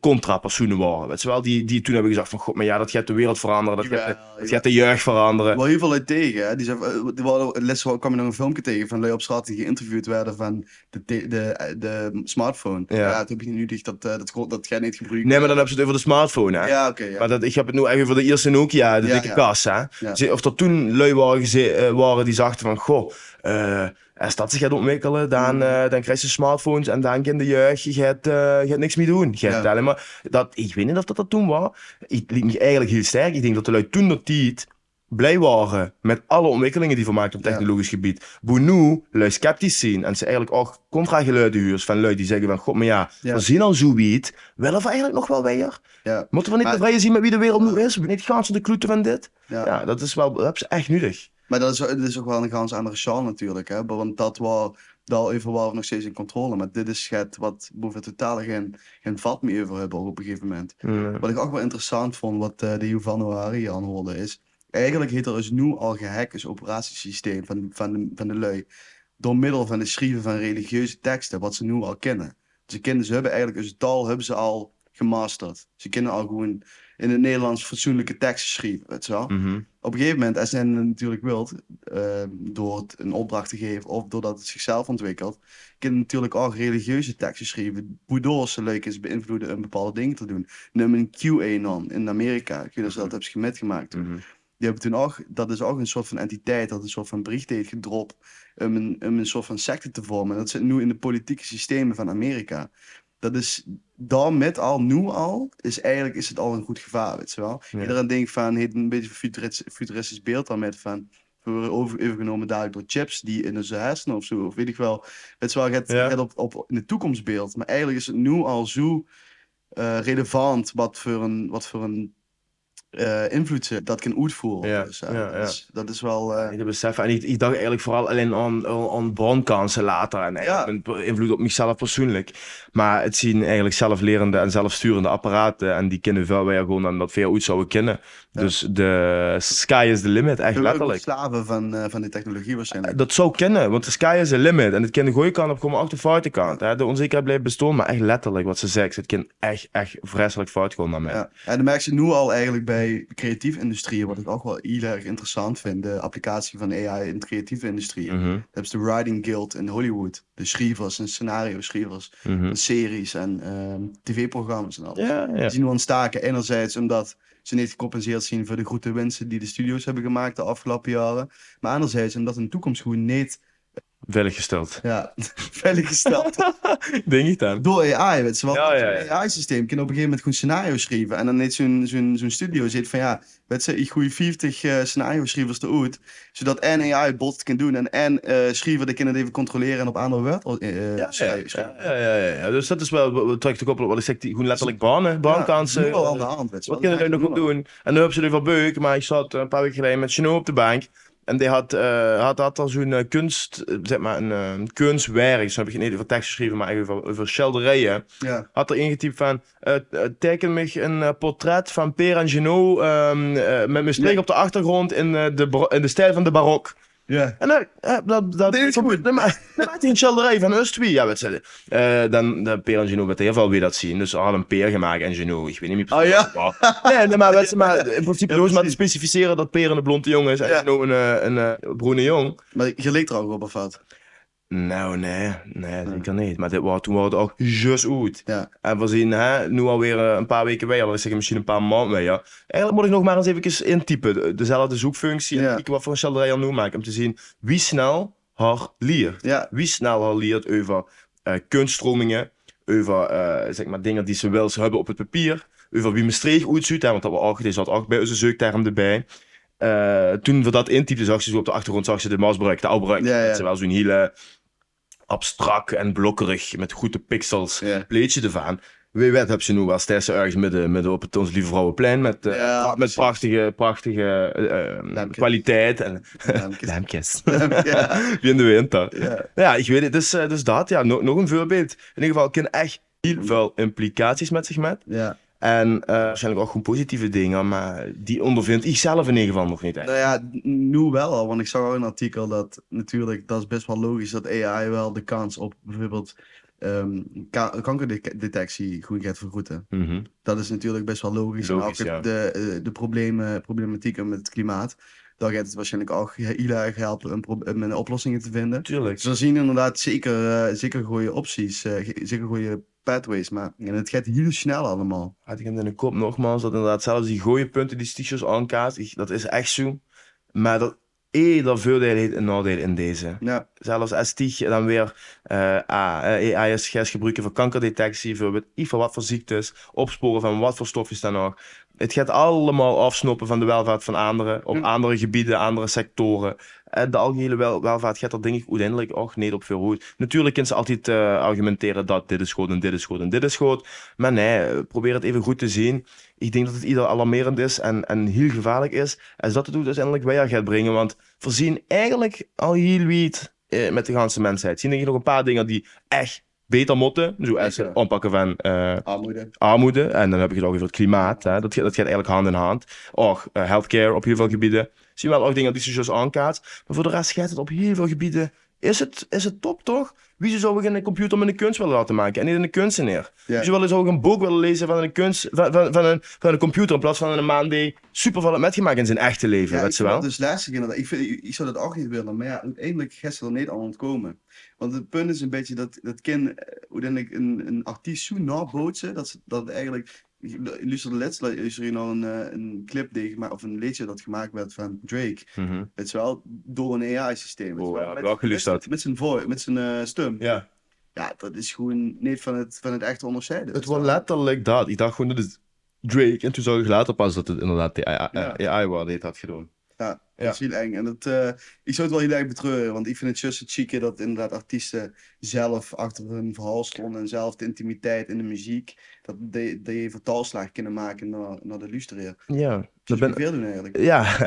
S1: contrapersoenen waren. Weet je wel, die, die toen hebben gezegd van god, maar ja, dat gaat de wereld veranderen, dat, gaat,
S2: Jawel,
S1: dat gaat de jeugd veranderen.
S2: wel heel veel uit tegen. Hè? Die zei, eh, die waren- les kwam je nog een filmpje tegen van lui op straat die geïnterviewd werden van de, te- de, eh, de, smartphone.
S1: Ja.
S2: Ja. toen heb je nu dicht dat, eh, dat, dat, dat jij niet gebruikt.
S1: Nee, maar dan hebben ze het over de smartphone, hè.
S2: Ja, oké. ja.
S1: Maar dat, ik heb het nu echt over de eerste Nokia, de
S2: Ja,
S1: dikke
S2: ja.
S1: kast. Hè?
S2: Ja.
S1: Ze- Of er toen lui waren, geze- eh, waren die zachten van, goh, eh, als dat zich gaat ontwikkelen, dan,
S2: Mm.
S1: eh, dan krijg je smartphones en dan in de jeugd, je gaat, eh, je gaat niks meer doen. Je gaat
S2: Ja.
S1: alleen maar, dat, ik weet niet of dat, dat toen was. Ik liet me eigenlijk heel sterk. Ik denk dat de lui toen dat die het blij waren met alle ontwikkelingen die vermaakt op
S2: Ja.
S1: technologisch gebied. Boenu, lui sceptisch zien. En ze eigenlijk ook contrageluiden huurs van lui die zeggen van, god, maar ja,
S2: Ja.
S1: we zien dan zoiets, willen we eigenlijk nog wel weer?
S2: ja.
S1: Moeten we niet
S2: Maar-
S1: tevreden zien met wie de wereld nu is? We niet gaan ze de kloeten van dit?
S2: Ja.
S1: Ja, dat is wel dat hebben ze echt nuttig.
S2: Maar dat is, dat is ook wel een ganz andere genre natuurlijk. Hè? Want dat was daar even wel nog steeds in controle. Maar dit is het wat boven totaal geen, geen vat meer over hebben op een gegeven moment. Wat ik ook wel interessant vond, wat eh, de Giovanni Hari aanhoorde, is... Eigenlijk heet er dus nu al gehackt is operatiesysteem van, van, de, van de lui. Door middel van het schrijven van religieuze teksten, wat ze nu al kennen. Dus de kinderen, ze hebben eigenlijk hun taal hebben ze al gemasterd. Ze kennen al gewoon in het Nederlands fatsoenlijke teksten schrijven, weet je wel
S1: Mhm.
S2: op een gegeven moment, als je hen natuurlijk wilt, eh, door het een opdracht te geven of doordat het zichzelf ontwikkelt, kun je natuurlijk ook religieuze teksten schrijven, waardoor ze leuk is beïnvloeden een bepaalde ding te doen. Neem een QAnon in Amerika, ik weet niet of je dus dat hebt metgemaakt.
S1: Mhm.
S2: Die hebben toen ook, dat is ook een soort van entiteit, dat een soort van brief heeft gedropt om een, om een soort van secte te vormen. Dat zit nu in de politieke systemen van Amerika. Dat is, dan met al, nu al, is eigenlijk is het al een goed gevaar, weet je wel.
S1: Ja.
S2: Iedereen denkt van, heeft een beetje een futuristisch, futuristisch beeld dan met van, we worden over, overgenomen dadelijk door chips die in onze hersenen of zo, of weet ik wel. Het is wel het,
S1: Ja.
S2: het op, op in het toekomstbeeld, maar eigenlijk is het nu al zo eh, relevant wat voor een, wat voor een eh, invloed ze dat kan uitvoeren.
S1: Ja,
S2: Dus, eh,
S1: ja, ja.
S2: Dat, is, dat is wel... eh,
S1: Ik heb beseffen. En ik, ik dacht eigenlijk vooral alleen aan, aan, aan brandkansen later. En eigenlijk
S2: Ja.
S1: mijn be- invloed op mezelf persoonlijk. Maar het zien eigenlijk zelflerende en zelfsturende apparaten. En die kunnen veel meer gewoon dan dat veel uit zouden kennen.
S2: Ja.
S1: Dus de sky is the limit, echt
S2: we worden
S1: letterlijk.
S2: slaven van, eh, van de technologie waarschijnlijk.
S1: Dat zou kennen, want de sky is the limit. En het kan de goede kant op komen, ook de foute kant. Hè. De onzekerheid blijft bestaan, maar echt letterlijk wat ze zegt. Het kan echt, echt vreselijk fout gaan naar mij.
S2: Ja. En dat merk je nu al eigenlijk bij creatieve industrieën, wat ik ook wel heel erg interessant vind. De applicatie van AI in de creatieve industrieën.
S1: Mhm,
S2: Dat is de Writing Guild in Hollywood. De schrijvers en scenario-schrijvers.
S1: mhm.
S2: van Series en ehm, tv-programma's en alles.
S1: Ja, ja.
S2: Die zien we ontstaken enerzijds omdat ze niet gecompenseerd zien voor de grote winsten die de studios hebben gemaakt de afgelopen jaren. Maar anderzijds omdat hun toekomst gewoon niet
S1: Veiliggesteld.
S2: ja, veiliggesteld wordt
S1: Denk ik dan.
S2: door AI. Weet je wel,
S1: Ja, ja, ja.
S2: Een AI-systeem kan op een gegeven moment gewoon scenario's schrijven. En dan heeft zo'n zo'n zo'n studio zit van ja, weet je, ik gooi 50 eh scenario-schrijvers eruit. Zodat en AI bots kan doen en en eh schrijver die kunnen het even controleren en op andere woord eh
S1: Ja, ja,
S2: scenario's schrijven.
S1: ja, ja, ja, ja. Dus dat is wel wat- wat terug te koppelen op wat ik zeg, die gewoon letterlijk banen, baankansen.
S2: Ja, nu al aan de hand, weet je
S1: wat
S2: wel.
S1: kunnen we
S2: Dat
S1: nog
S2: merk
S1: op
S2: je nu al.
S1: doen? En dan hebben ze er van Beuk, maar ik zat een paar weken geleden met Chino op de bank. En die had, eh had, had dan zo'n eh, kunst, eh, zeg maar, een eh, kunstwerk. Zo heb ik niet over tekst geschreven, maar eigenlijk over, over schilderijen.
S2: Ja.
S1: Had er ingetypt van, eh, eh, teken me een eh, portret van Peer en Gino ehm, eh, met mijn streek
S2: Ja.
S1: op de achtergrond in, eh, de, baro- in de stijl van de barok.
S2: Ja.
S1: En dan, eh, dat, dat,
S2: Nee, dat is goed.
S1: dan, ma- dan maakt hij een schilderij van ons twee. Ja, wat zei hij? Eh, dan, dan Peer en Geno werd heel veel weer dat zien. Dus ze hadden een peer gemaakt en Geno, ik weet niet meer
S2: Oh ja?
S1: wat het was. Nee, nee, maar, wat ze maar in principe
S2: Ja,
S1: door ze maar te
S2: precies.
S1: specificeren dat Peer een blonde jongen is en
S2: Ja.
S1: Geno een, eh, een, eh, bruine jong.
S2: Maar je leek er ook op of wat?
S1: Nou, nee, nee,
S2: Nee.
S1: zeker niet. Maar dit, was- toen was het ook juist goed.
S2: Ja.
S1: En we zien hè, nu alweer eh, een paar weken weg, al is het misschien een paar maanden weg. Ja. Eigenlijk moet ik nog maar eens even intypen, de- dezelfde zoekfunctie, en
S2: Ja.
S1: kijken wat voor een schilderij aan nu maakt, om te zien wie snel haar leert.
S2: Ja,
S1: Wie snel haar leert over eh, kunststromingen, over eh, zeg maar, dingen die ze wel hebben op het papier, over wie Maastricht uitziet, hè, want dat we ook, deze had ook bij onze zoekterm erbij. Eh, toen we dat intypten, zag ze zo op de achtergrond zag ze de Maasbruik, de Oudbruik.
S2: Ja, ja.
S1: Dat ze wel zo'n hele abstract en blokkerig, met goede pixels
S2: ja.
S1: pleetje ervan. Wie weet heb ze nu wel steeds ergens midden, midden op het Ons Lieve Vrouwenplein met, eh,
S2: Ja,
S1: pra- met
S2: precies.
S1: prachtige, prachtige eh, eh,
S2: Lampjes.
S1: kwaliteit en
S2: ja.
S1: lampjes.
S2: ja.
S1: Wie in de winter.
S2: ja.
S1: Ja, ik weet het. Dus, eh, dus dat, ja, nog, nog een voorbeeld. In ieder geval, het kan echt heel veel implicaties met zich met.
S2: ja.
S1: En eh, waarschijnlijk ook gewoon positieve dingen, maar die ondervind ik zelf in ieder geval nog niet echt.
S2: Nou ja, nu wel al, want ik zag ook een artikel dat natuurlijk, dat is best wel logisch dat AI wel de kans op bijvoorbeeld ehm, ka- kankerdetectie goed gaat vergroeten.
S1: Mhm.
S2: Dat is natuurlijk best wel logisch.
S1: Logisch,
S2: en ook
S1: ja.
S2: het- de, eh, de problemen, problematieken met het klimaat, daar gaat het waarschijnlijk ook heel erg helpen om, pro- om oplossingen te vinden.
S1: Tuurlijk.
S2: Dus we zien inderdaad zeker, eh, zeker goede opties, eh, ge- zeker goede pathways, maar en het gaat heel snel allemaal.
S1: Had ik hem in de kop nogmaals, dat inderdaad zelfs die gooie punten die stichels aankaart, ik- dat is echt zo. Maar dat ieder voordeel heeft een nadeel in deze.
S2: Ja,
S1: Zelfs als die dan weer eh A, eh, AI is gers gebruiken voor kankerdetectie, voor weet ik veel wat voor ziektes, opsporen van wat voor stofjes dan ook. Het gaat allemaal afsnoppen van de welvaart van anderen, op
S2: Hm.
S1: andere gebieden, andere sectoren. En de algehele wel- welvaart gaat er denk ik uiteindelijk ook niet op veel goed. Natuurlijk kunnen ze altijd eh, argumenteren dat dit is goed en dit is goed en dit is goed. Maar nee, eh, probeer het even goed te zien. Ik denk dat het ieder alarmerend is en, en heel gevaarlijk is. Als dat het doet, uiteindelijk weer gaat brengen. Want we zien eigenlijk al heel wiet eh, met de ganse mensheid. Zien denk ik nog een paar dingen die echt beter moeten. Zoals het
S2: Zeker.
S1: aanpakken van eh,
S2: armoede.
S1: armoede. En dan heb je het ook over het klimaat. Hè. Dat, gaat- dat gaat eigenlijk hand in hand. Ook eh, healthcare op heel veel gebieden. Zie wel ook dingen die ze zoals aankaart. Maar voor de rest gaat het op heel veel gebieden. Is het, is het top toch? Wie zou ook in een computer met een kunst willen laten maken en niet in een kunstenaar?
S2: Ja.
S1: Wie zou wel eens ook een boek willen lezen van een, kunst, van, van, van een, van een computer in plaats van een man die superveel met gemaakt in zijn echte leven?
S2: Ja,
S1: weet
S2: ik
S1: ze
S2: vind
S1: wel?
S2: dat dus lastig inderdaad. Ik, vind, ik- ik zou dat ook niet willen, maar ja, uiteindelijk gisteren er niet aan ontkomen. Want het punt is een beetje dat dat kind eh, uiteindelijk een, een artiest zo nabootsen, dat, ze- dat eigenlijk... Luister de laatste, luister je nou een, eh, een clip die gemaakt, of een liedje dat gemaakt werd van Drake.
S1: Mhm.
S2: Het is wel door een AI-systeem.
S1: Oh, ja, heb ik ook geluisterd.
S2: Met zijn voice, met zijn eh, stem. Ja.
S1: Ja.
S2: dat is gewoon niet van het, van het echte onderscheiden.
S1: Het was letterlijk dat. Ik dacht gewoon dat het Drake. En toen zag ik later pas dat het inderdaad de AI,
S2: Ja.
S1: eh, AI was die het had gedaan.
S2: Ja,
S1: Ja.
S2: dat is heel eng. En dat, eh, ik zou het wel heel erg betreuren, want ik vind het juist het chique dat inderdaad artiesten zelf achter hun verhaal stonden en zelf de intimiteit in de muziek, dat die, die vertaalslag kunnen maken naar, naar de luisteraar.
S1: Ja, dat
S2: Dat ben...
S1: ben, Eh,
S2: ik veel doen eigenlijk.
S1: Ja,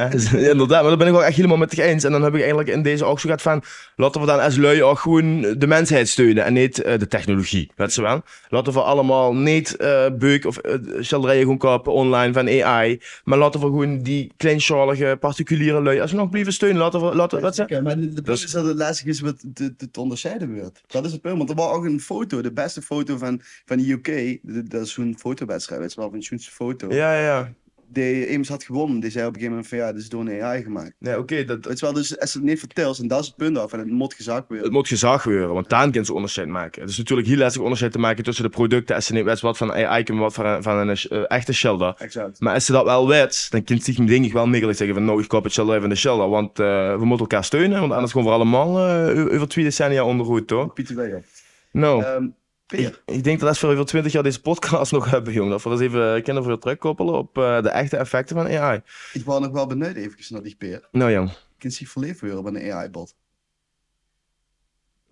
S1: inderdaad. Maar dat ben ik wel echt helemaal met je eens. En dan heb ik eigenlijk in deze ook zo gehad van... Laten we dan als lui ook gewoon de mensheid steunen en niet eh, de technologie. Weet ze wel? Laten we allemaal niet eh beuk of eh, schilderijen gewoon kopen online van AI. Maar laten we gewoon die kleinschalige, particuliere lui alsnog blijven steunen. Laten we... Laten, wat ze...
S2: Oké, maar het punt
S1: Dus-
S2: is dat het lastig is met te, te, te onderscheiden wordt. Dat is het punt, want er was ook een foto, de beste foto van, van de UK, de- dat is zo'n fotowedstrijd, weet je wel, van de schoonste foto.
S1: Ja, ja, ja.
S2: Die immers had gewonnen, die zei op een gegeven moment van ja, dit is door een AI gemaakt.
S1: Nee, oké. dat,
S2: Weet je wel, dus als ze het niet vertelt, en dat is het punt af, en het moet gezakt worden.
S1: het moet gezag worden, want daar kunnen ze onderscheid maken. Het is natuurlijk heel lastig onderscheid te maken tussen de producten. Als ze niet weten wat van AI kunnen, wat van een, van een eh, echte shelter.
S2: Exact.
S1: Maar als ze dat wel weet, dan kan zich denk ik wel makkelijk zeggen van nou, ik koop het Shell even de Shell, want eh, we moeten elkaar steunen, want anders gaan we allemaal eh, o- over twee decennia ondergoed, toch?
S2: Pieter Weigel.
S1: Nou,
S2: Ehm, Peer.
S1: ik denk dat als we over twintig jaar deze podcast nog hebben, jongen, dat we eens even eh, kunnen voor terugkoppelen op eh, de echte effecten van AI.
S2: Ik wou nog wel beneden even naar die peer.
S1: Nou, jong.
S2: Ik kan zich verleefd worden met een AI-bot.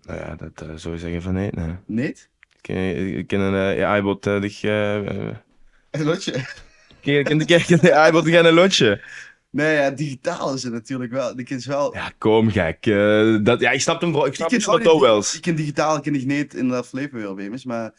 S1: Nou ja, dat eh, zou je zeggen van nee, nee.
S2: Niet?
S1: Ik, eh, Ik ken een AI-bot, eh, die... eh, eh,
S2: Een lotje.
S1: Ik ken- ik ken- ik ken een AI-bot, die gaat een lotje.
S2: Nee, ja, digitaal is het natuurlijk wel. Die is wel...
S1: Ja, kom gek. Eh, dat, ja, ik snap hem wel. Ik snap
S2: ken
S1: hem
S2: ook
S1: wel
S2: niet-
S1: wel eens.
S2: Ik kan digitaal, ik kan ik niet inderdaad verleefd worden, Wemens. Maar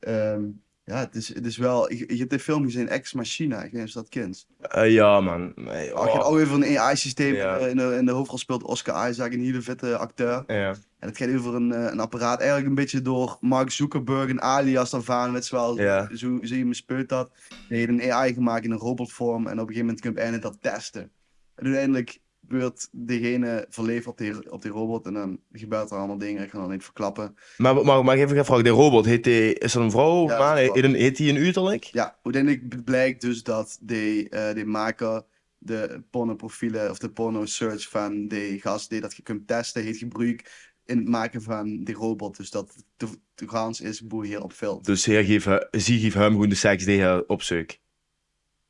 S2: ehm, ja, het is, het is wel... Ik, je hebt de film gezien, Ex Machina. Ik weet niet of je dat kent.
S1: Eh, ja, man. Nee,
S2: Oh. Je hebt
S1: oh.
S2: ook weer van een AI-systeem.
S1: Ja.
S2: eh, In, de, in de hoofdrol speelt Oscar Isaac, een hele vette acteur.
S1: Ja.
S2: En het gaat over een, eh, een apparaat, eigenlijk een beetje door Mark Zuckerberg en alias daarvan, weet je wel.
S1: Ja.
S2: Zo zie je me speurt dat. Die heeft een AI gemaakt in een robotvorm en op een gegeven moment kun je eindelijk dat testen. En uiteindelijk wordt degene verleefd op die, op die robot en dan gebeurt er allemaal dingen. Ik ga dat niet verklappen.
S1: Maar, maar, maar even een vraag. De robot, heet die, is dat een vrouw?
S2: Ja,
S1: man?
S2: dat is een
S1: Heet een- heet die een uiterlijk?
S2: Ja, uiteindelijk blijkt dus dat die, eh die maker de pornoprofielen of de porno search van die gast die dat je kunt testen, heeft gebruikt in het maken van die robot. Dus dat de, de gans is boer hier op film.
S1: Dus heer, geef, eh, zie, geef hem gewoon de seks die hij opzoekt.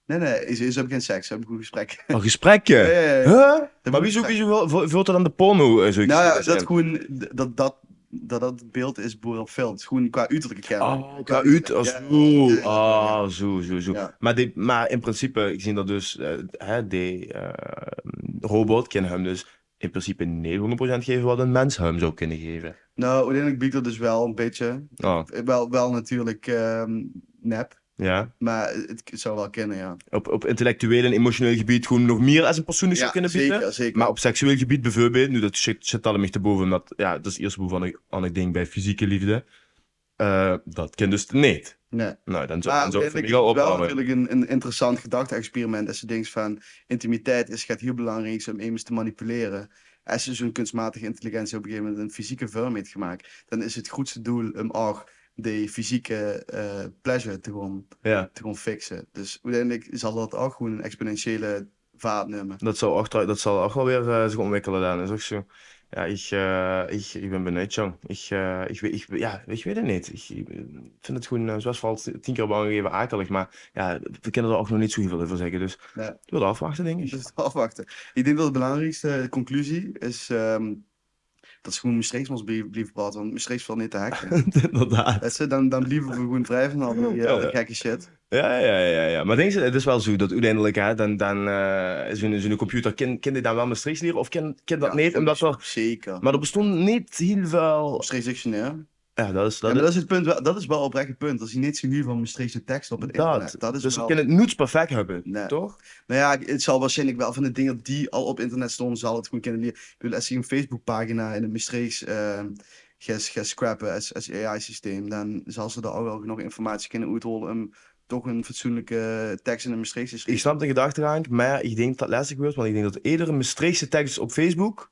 S2: Nee, nee, ze, ze hebben geen seks, ze hebben goed gesprek.
S1: Een gesprekje?
S2: Ja, ja, ja.
S1: Oh, Huh? Maar wie, zoekt, wie zoekt- vu- vult er dan de porno? eh, zoiets
S2: Nou ja,
S1: in?
S2: dat gewoon dat dat, dat, dat het beeld is boer op film. Het is gewoon qua uiterlijke kenmerk.
S1: Oh, qua uit, als zo.
S2: ja, ja.
S1: Ah, zo, zo, zo.
S2: Ja.
S1: Maar, die, maar in principe, ik zie dat dus, eh, hè, die eh, robot kan hem dus in principe 900% geven wat een mens hem zou kunnen geven.
S2: Nou, uiteindelijk biedt dat dus wel een beetje. eh,
S1: Oh,
S2: Wel, wel natuurlijk ehm, nep,
S1: ja.
S2: maar het zou wel kennen, ja.
S1: Op, op intellectueel en emotioneel gebied gewoon nog meer als een persoonlijk
S2: ja,
S1: zou kunnen bieden.
S2: zeker, zeker.
S1: Maar op seksueel gebied bijvoorbeeld, nu dat shit, zit allemaal te boven, omdat ja, dat is eerst boven ik, aan ik denk bij fysieke liefde. Eh, dat kan dus niet.
S2: nee.
S1: Nou, dan zou,
S2: Maar
S1: dan zou ik voor
S2: uiteindelijk Ah, is
S1: mij al
S2: het wel
S1: opwarmen.
S2: natuurlijk een, een interessant gedachte-experiment. Als je denkt van intimiteit is, gaat heel belangrijk zijn om immers te manipuleren. Als je zo'n kunstmatige intelligentie op een gegeven moment een fysieke vorm heeft gemaakt, dan is het goedste doel om ook die fysieke eh, pleasure te gewoon
S1: Ja,
S2: te gewoon fixen. Dus uiteindelijk zal dat ook gewoon een exponentiële vaart nemen.
S1: dat zal ook, trouw- dat zal ook wel weer eh, zich ontwikkelen dan, is ook zo. Ja, ik, eh, ik, ik ben benieuwd, jong. Ik, eh, ik, weet- ik, ja, ik weet het niet. Ik, ik vind het gewoon, eh, zoals vooral tien keer op aangegeven, akelig. Maar ja, we kunnen er ook nog niet zo heel veel over zeggen. Dus
S2: Nee.
S1: ik wil afwachten, denk ik.
S2: Dus het afwachten. Ik denk dat de belangrijkste eh, conclusie is ehm, dat ze gewoon Maastricht ons blie- blijven praten, want Maastricht valt niet te hacken.
S1: Inderdaad.
S2: Weet je, dan, dan blijven we gewoon vrij van al die, eh, al die
S1: Ja.
S2: gekke shit.
S1: Ja, ja, ja, ja. Maar denk je, het is wel zo dat uiteindelijk, hè, dan, dan eh zo'n, zo'n computer, kan, kan die dan wel Maastrichts leren of kan, kan dat
S2: Ja,
S1: niet? Omdat er,
S2: Zeker.
S1: maar er bestond niet heel veel...
S2: Maastricht dictionair.
S1: Ja, dat is... Dat
S2: Dat, ja, maar
S1: is
S2: dat is het punt, wel- dat is wel oprecht het punt. Als je niet zo hier van Maastrichtse tekst op het
S1: dat.
S2: internet. Dat is
S1: dus
S2: wel...
S1: we kunnen het niets perfect hebben,
S2: Nee.
S1: toch?
S2: Nou ja, het zal waarschijnlijk wel van de dingen die al op internet stonden, zal het goed kunnen leren. Ik bedoel, als je een Facebookpagina in het Maastrichts eh, gaat gaat scrappen als, als AI-systeem, dan zal ze daar ook wel nog informatie kunnen uitrollen om toch een fatsoenlijke tekst in het Maastrichts te
S1: Ik
S2: schrijven.
S1: snap de gedachte aan, maar ik denk dat dat lastig wordt, want ik denk dat iedere Maastrichtse tekst op Facebook
S2: Oh,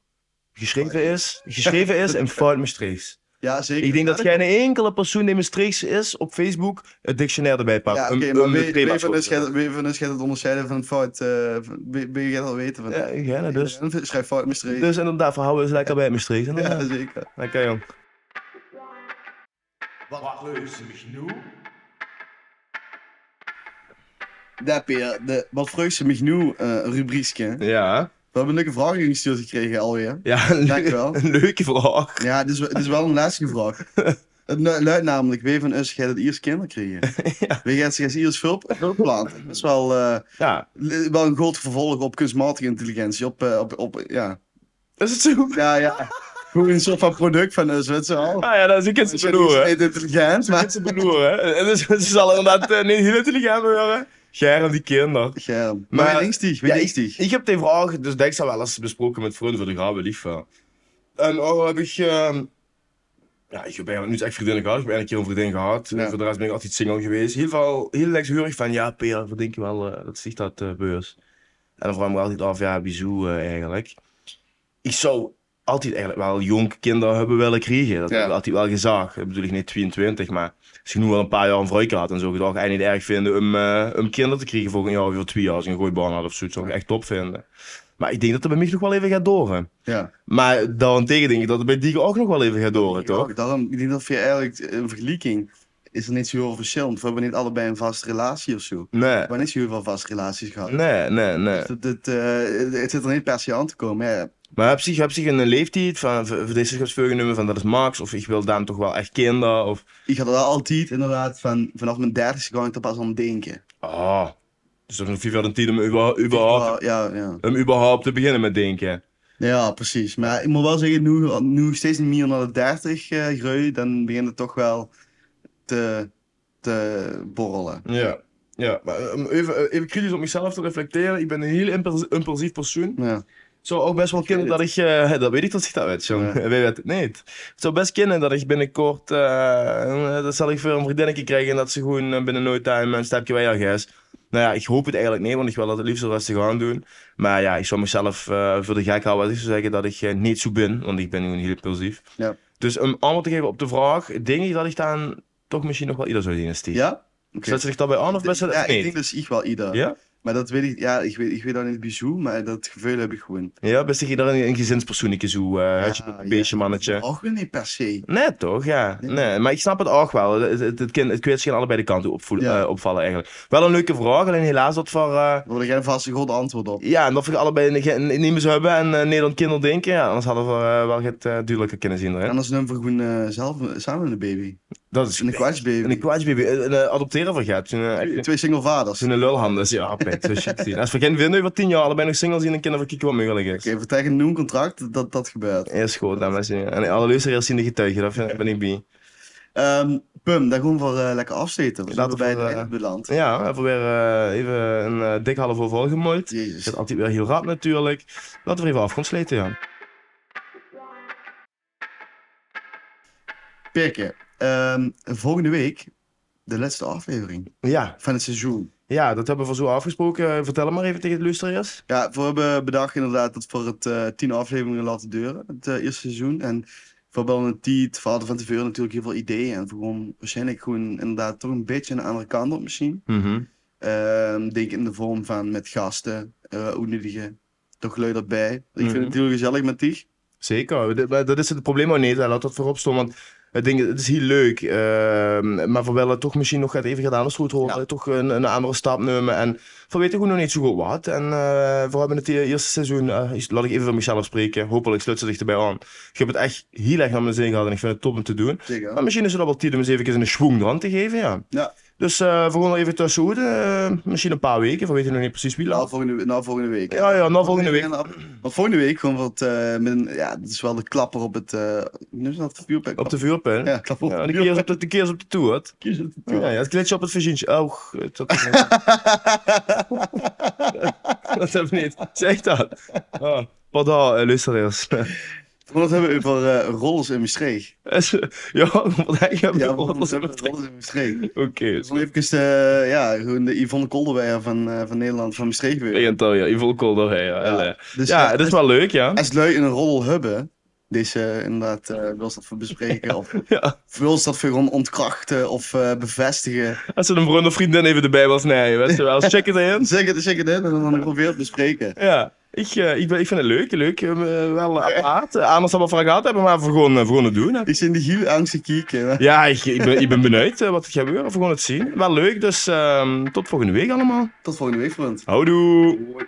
S1: geschreven is, geschreven is in fout Maastrichts.
S2: Ja, zeker.
S1: Ik denk dat
S2: Ja,
S1: geen enkele persoon die Maastrichts is op Facebook het dictionair erbij pakt.
S2: Ja, oké,
S1: Een-
S2: maar
S1: een
S2: wie- wie
S1: trademark
S2: van ons
S1: voor-
S2: gaat- wie van ons gaat het onderscheiden van een fout? eh, van- Wie wie gaat dat weten? Van,
S1: Ja, ja, dus.
S2: Iedereen Schrijf fout Maastricht.
S1: Dus inderdaad, we houden we eens lekker bij Maastrichts.
S2: Ja,
S1: inderdaad.
S2: zeker.
S1: eh, Lekker jong.
S3: Wat leus mich nu?
S2: Daar, Peer, de Wat vreugde ze mich nu eh, rubriekje.
S1: Ja,
S2: We hebben leuke vragen ingestuurd gekregen alweer.
S1: ja een,
S2: Dankjewel.
S1: een leuke vraag.
S2: Ja, dit is, dit is wel een lastige vraag. Het nu- luidt namelijk, wie van ons gaat het Iers kinderen krijgen? Wie gaat zich als Iers vulp planten? Dat is wel, eh,
S1: Ja,
S2: li- wel een groot vervolg op kunstmatige intelligentie. Op, eh, op, op, ja.
S1: is het zo?
S2: Ja, ja. Gewoon een soort van product van ons, weet je wel.
S1: Ah ja, dat is een kind
S2: Mensen
S1: te
S2: zijn niet
S1: beloeren.
S2: steeds intelligent, maar...
S1: Ze beloeren, hè. Dus ze zal inderdaad eh, niet heel intelligent worden. Germ eh, die kinderen.
S2: Germ.
S1: Maar-
S2: Maar wie denkt die? Wie
S1: Ja,
S2: denkt die?
S1: Ik heb die vraag, dus denk ze wel eens besproken met vrienden voor de graven lief. eh. En al heb ik. ehm, ja, ik heb eigenlijk niet echt vriendinnen gehad. Ik heb eigenlijk een keer een vriendin gehad.
S2: Ja.
S1: Voor de rest ben ik altijd single geweest. Heel veel, heel lekshurig van ja, Peer, wat denk je wel, eh, dat ziet dat eh, beurs. En dan vraag ik me altijd af, ja, bizou eh, eigenlijk. Ik zou altijd eigenlijk wel jong kinderen hebben willen krijgen. Dat
S2: Ja.
S1: heb ik altijd wel gezag. Dat bedoel ik niet 22, maar als je nu wel een paar jaar een vrouw had, dan zou ik het ook echt niet erg vinden om, eh, om kinderen te krijgen voor een jaar of voor twee jaar. Als ik een gooibaan had of zoiets, zou ik echt top vinden. Maar ik denk dat het bij mij nog wel even gaat door. hè.
S2: Ja.
S1: Maar daarentegen denk ik dat het bij Diego ook nog wel even gaat door, hè, toch?
S2: Ja, Daarom, ik denk dat je eigenlijk een vergelijking is er niet zo heel veel verschil. Want we hebben niet allebei een vaste relatie of zo. We
S1: Nee,
S2: hebben niet zo heel veel vaste relaties gehad.
S1: nee, nee, nee.
S2: Dus dat- dat, eh, het zit er niet per se aan te komen. Ja,
S1: Maar heb zich, heb zich een leeftijd van, voor deze nummer van dat is Max, of ik wil dan toch wel echt kinderen, of...
S2: ik had er wel altijd inderdaad van, vanaf mijn dertigste gang er pas aan denken.
S1: Ah, dus dat is nog vier jaar de tijd om überhaupt, überhaupt,
S2: Ja, ja.
S1: om überhaupt te beginnen met denken.
S2: ja, precies. Maar ik moet wel zeggen, nu, nu steeds meer naar de dertig eh groei, dan begint het toch wel te, te borrelen.
S1: Ja, ja. Maar eh, om even, even kritisch op mezelf te reflecteren, ik ben een heel impuls- impulsief persoon.
S2: Ja.
S1: zou ook best wel kunnen
S2: weet
S1: dat ik... eh, dat weet ik dat ik dat weet, jong.
S2: Ja.
S1: Wij weten het niet. Het zou best kunnen dat ik binnenkort... eh, eh, dat zal ik voor een vriendinnetje krijgen... en dat ze gewoon eh, binnen no time een stapje bij jou is. Nou ja, ik hoop het eigenlijk niet, want ik wil dat het liefst rustig aan doen. Maar ja, ik zou mezelf eh, voor de gek houden als ik zou zeggen dat ik eh, niet zo ben, want ik ben gewoon heel impulsief.
S2: Ja.
S1: Dus om antwoord te geven op de vraag, denk ik dat ik dan toch misschien nog wel ieder zou zien, Steve.
S2: Ja? Oké.
S1: Zet ze zich daarbij aan of best wel
S2: Ja, ik
S1: niet?
S2: denk dus ik wel ieder.
S1: Ja?
S2: Maar dat weet ik, ja, ik weet, ik weet dat niet bijzonder, maar dat gevoel heb ik gewoon.
S1: Ja, best ieder een, een gezinspersoonetje zo, eh huisje
S2: Ja,
S1: met een beestje, mannetje.
S2: Ook weer niet per se.
S1: Nee, toch? Ja.
S2: Nee.
S1: Nee, maar ik snap het ook wel. Het, het, het, kan- het kwestie kan allebei de kanten opvoelen,
S2: Ja.
S1: eh, opvallen eigenlijk. Wel een leuke vraag, alleen helaas dat voor... eh,
S2: Daar wil ik geen vast een goed antwoord op.
S1: Ja, en dat we allebei niet- niet meer zo hebben en eh, Nederland kinderen denken. Ja, anders hadden we eh, wel het eh, duidelijker kunnen zien. Hè?
S2: En als een vergoen eh, zelf samen een baby.
S1: Dat is
S2: Een kwatschbaby.
S1: Een kwaadsbaby. Een eh, adopteren vergeet. Een, eh, echt-
S2: Twee single vaders.
S1: een lulhand is. Ja, pet. Zo shit zien. Als we geen winnen over tien jaar allebei nog single zien, dan kunnen we kieken wat mogelijk is.
S2: Oké, vertel een nieuw contract dat dat gebeurt.
S1: Eerst goed, dames en heren. En alle luisteraars zien de getuigen. Daar vind- ben ik bij.
S2: Ehm, Pum, daar gewoon voor eh, lekker afzeten. We
S1: Laten
S2: Laten
S1: we
S2: bij de
S1: voor, eh,
S2: eindbeland. beland.
S1: Ja, we hebben weer eh, even een eh, dik half uur volgemooid. Het
S2: Jezus.
S1: gaat altijd weer heel rap natuurlijk. Laten we even af gaan sleten, ja.
S2: Pirke, ehm, volgende week de laatste aflevering
S1: Ja,
S2: van het seizoen.
S1: ja, dat hebben we voor zo afgesproken. Eh, Vertel het maar even tegen de luisteraars.
S2: Ja, we hebben bedacht inderdaad dat voor het eh, tien afleveringen laten duren, het eh, eerste seizoen. En voor Bel en Tiet, Vader van Tevoren natuurlijk heel veel ideeën. En gewoon waarschijnlijk gewoon inderdaad toch een beetje een andere kant op misschien.
S1: Mhm.
S2: Ehm, denk in de vorm van met gasten, eh uitnodigen, toch leuk erbij. Ik vind
S1: Mhm.
S2: het heel gezellig met die.
S1: Zeker, Dit- maar dat is het probleem ook niet. hè. Laat dat voorop staan, want ik denk, het is heel leuk. ehm, maar voor wel het toch misschien nog gaat even gedaan als goed horen.
S2: Ja.
S1: Toch een, een andere stap nemen. En we weten gewoon nog niet zo goed wat. En eh, we hebben het e- eerste seizoen, eh, is- laat ik even voor mezelf spreken. Hopelijk sluit ze zich erbij aan. Ik heb het echt heel erg naar mijn zin gehad en ik vind het top om te doen.
S2: Zeker.
S1: Maar misschien is het al wel tijd om eens even een schwung eraan te geven, ja.
S2: Ja.
S1: Dus eh, we gaan er even tussenuit. eh, misschien een paar weken, we weten nog niet precies wie
S2: Na
S1: laat.
S2: volgende, na volgende week.
S1: Ja, ja, na volgende week.
S2: Maar volgende week gewoon wat, eh, met een- ja, dat is wel de klapper op het, eh hoe noem je dat, vuurpijl?
S1: Op de vuurpijl.
S2: Ja, klapper op
S1: Ja,
S2: de
S1: de keer is op de, de keer is op de toer. Ja, ja, het glitje op het virgientje. Oh, goed, dat, dat heb ik niet. Zeg dat. Oh, pardon, eh, luisteraars.
S2: Wat hebben we over eh rollers in Maastricht?
S1: Is- ja, wat heb je
S2: Ja,
S1: bedoeld?
S2: rollers hebben we rollers in Maastricht.
S1: Oké,
S2: Dus dan even, eh, ja, gewoon de Yvonne Kolderweijer van, eh, van Nederland, van Maastricht weer.
S1: Oriental, ja. Evil Cold, ja. elle.
S2: Dus,
S1: Ja,
S2: eh,
S1: dat is wel leuk, ja.
S2: Als leuk een rol hebben, deze eh, inderdaad, eh wil ze dat voor bespreken of
S1: Ja,
S2: wil ze dat voor gewoon ontkrachten of eh, bevestigen.
S1: Als er een vriend of vriendin even erbij was, nee. Weet je wel, check het in.
S2: Zeg het, zeg het in en dan probeer het bespreken.
S1: Ja. Ik, eh, ik, ben, ik vind het leuk, leuk. eh, wel apart. Eh, Anders dan we vragen gehad hebben, maar we gewoon, eh, we gewoon het doen. hè.
S2: Ik zit in de giel angst te kijken.
S1: Ja, ik, ik, ben, ik ben benieuwd eh, wat er gaat gebeuren. We gaan het zien. Wel leuk, dus ehm, tot volgende week allemaal.
S2: Tot volgende week, vriend.
S1: Houdoe!
S2: Hoi.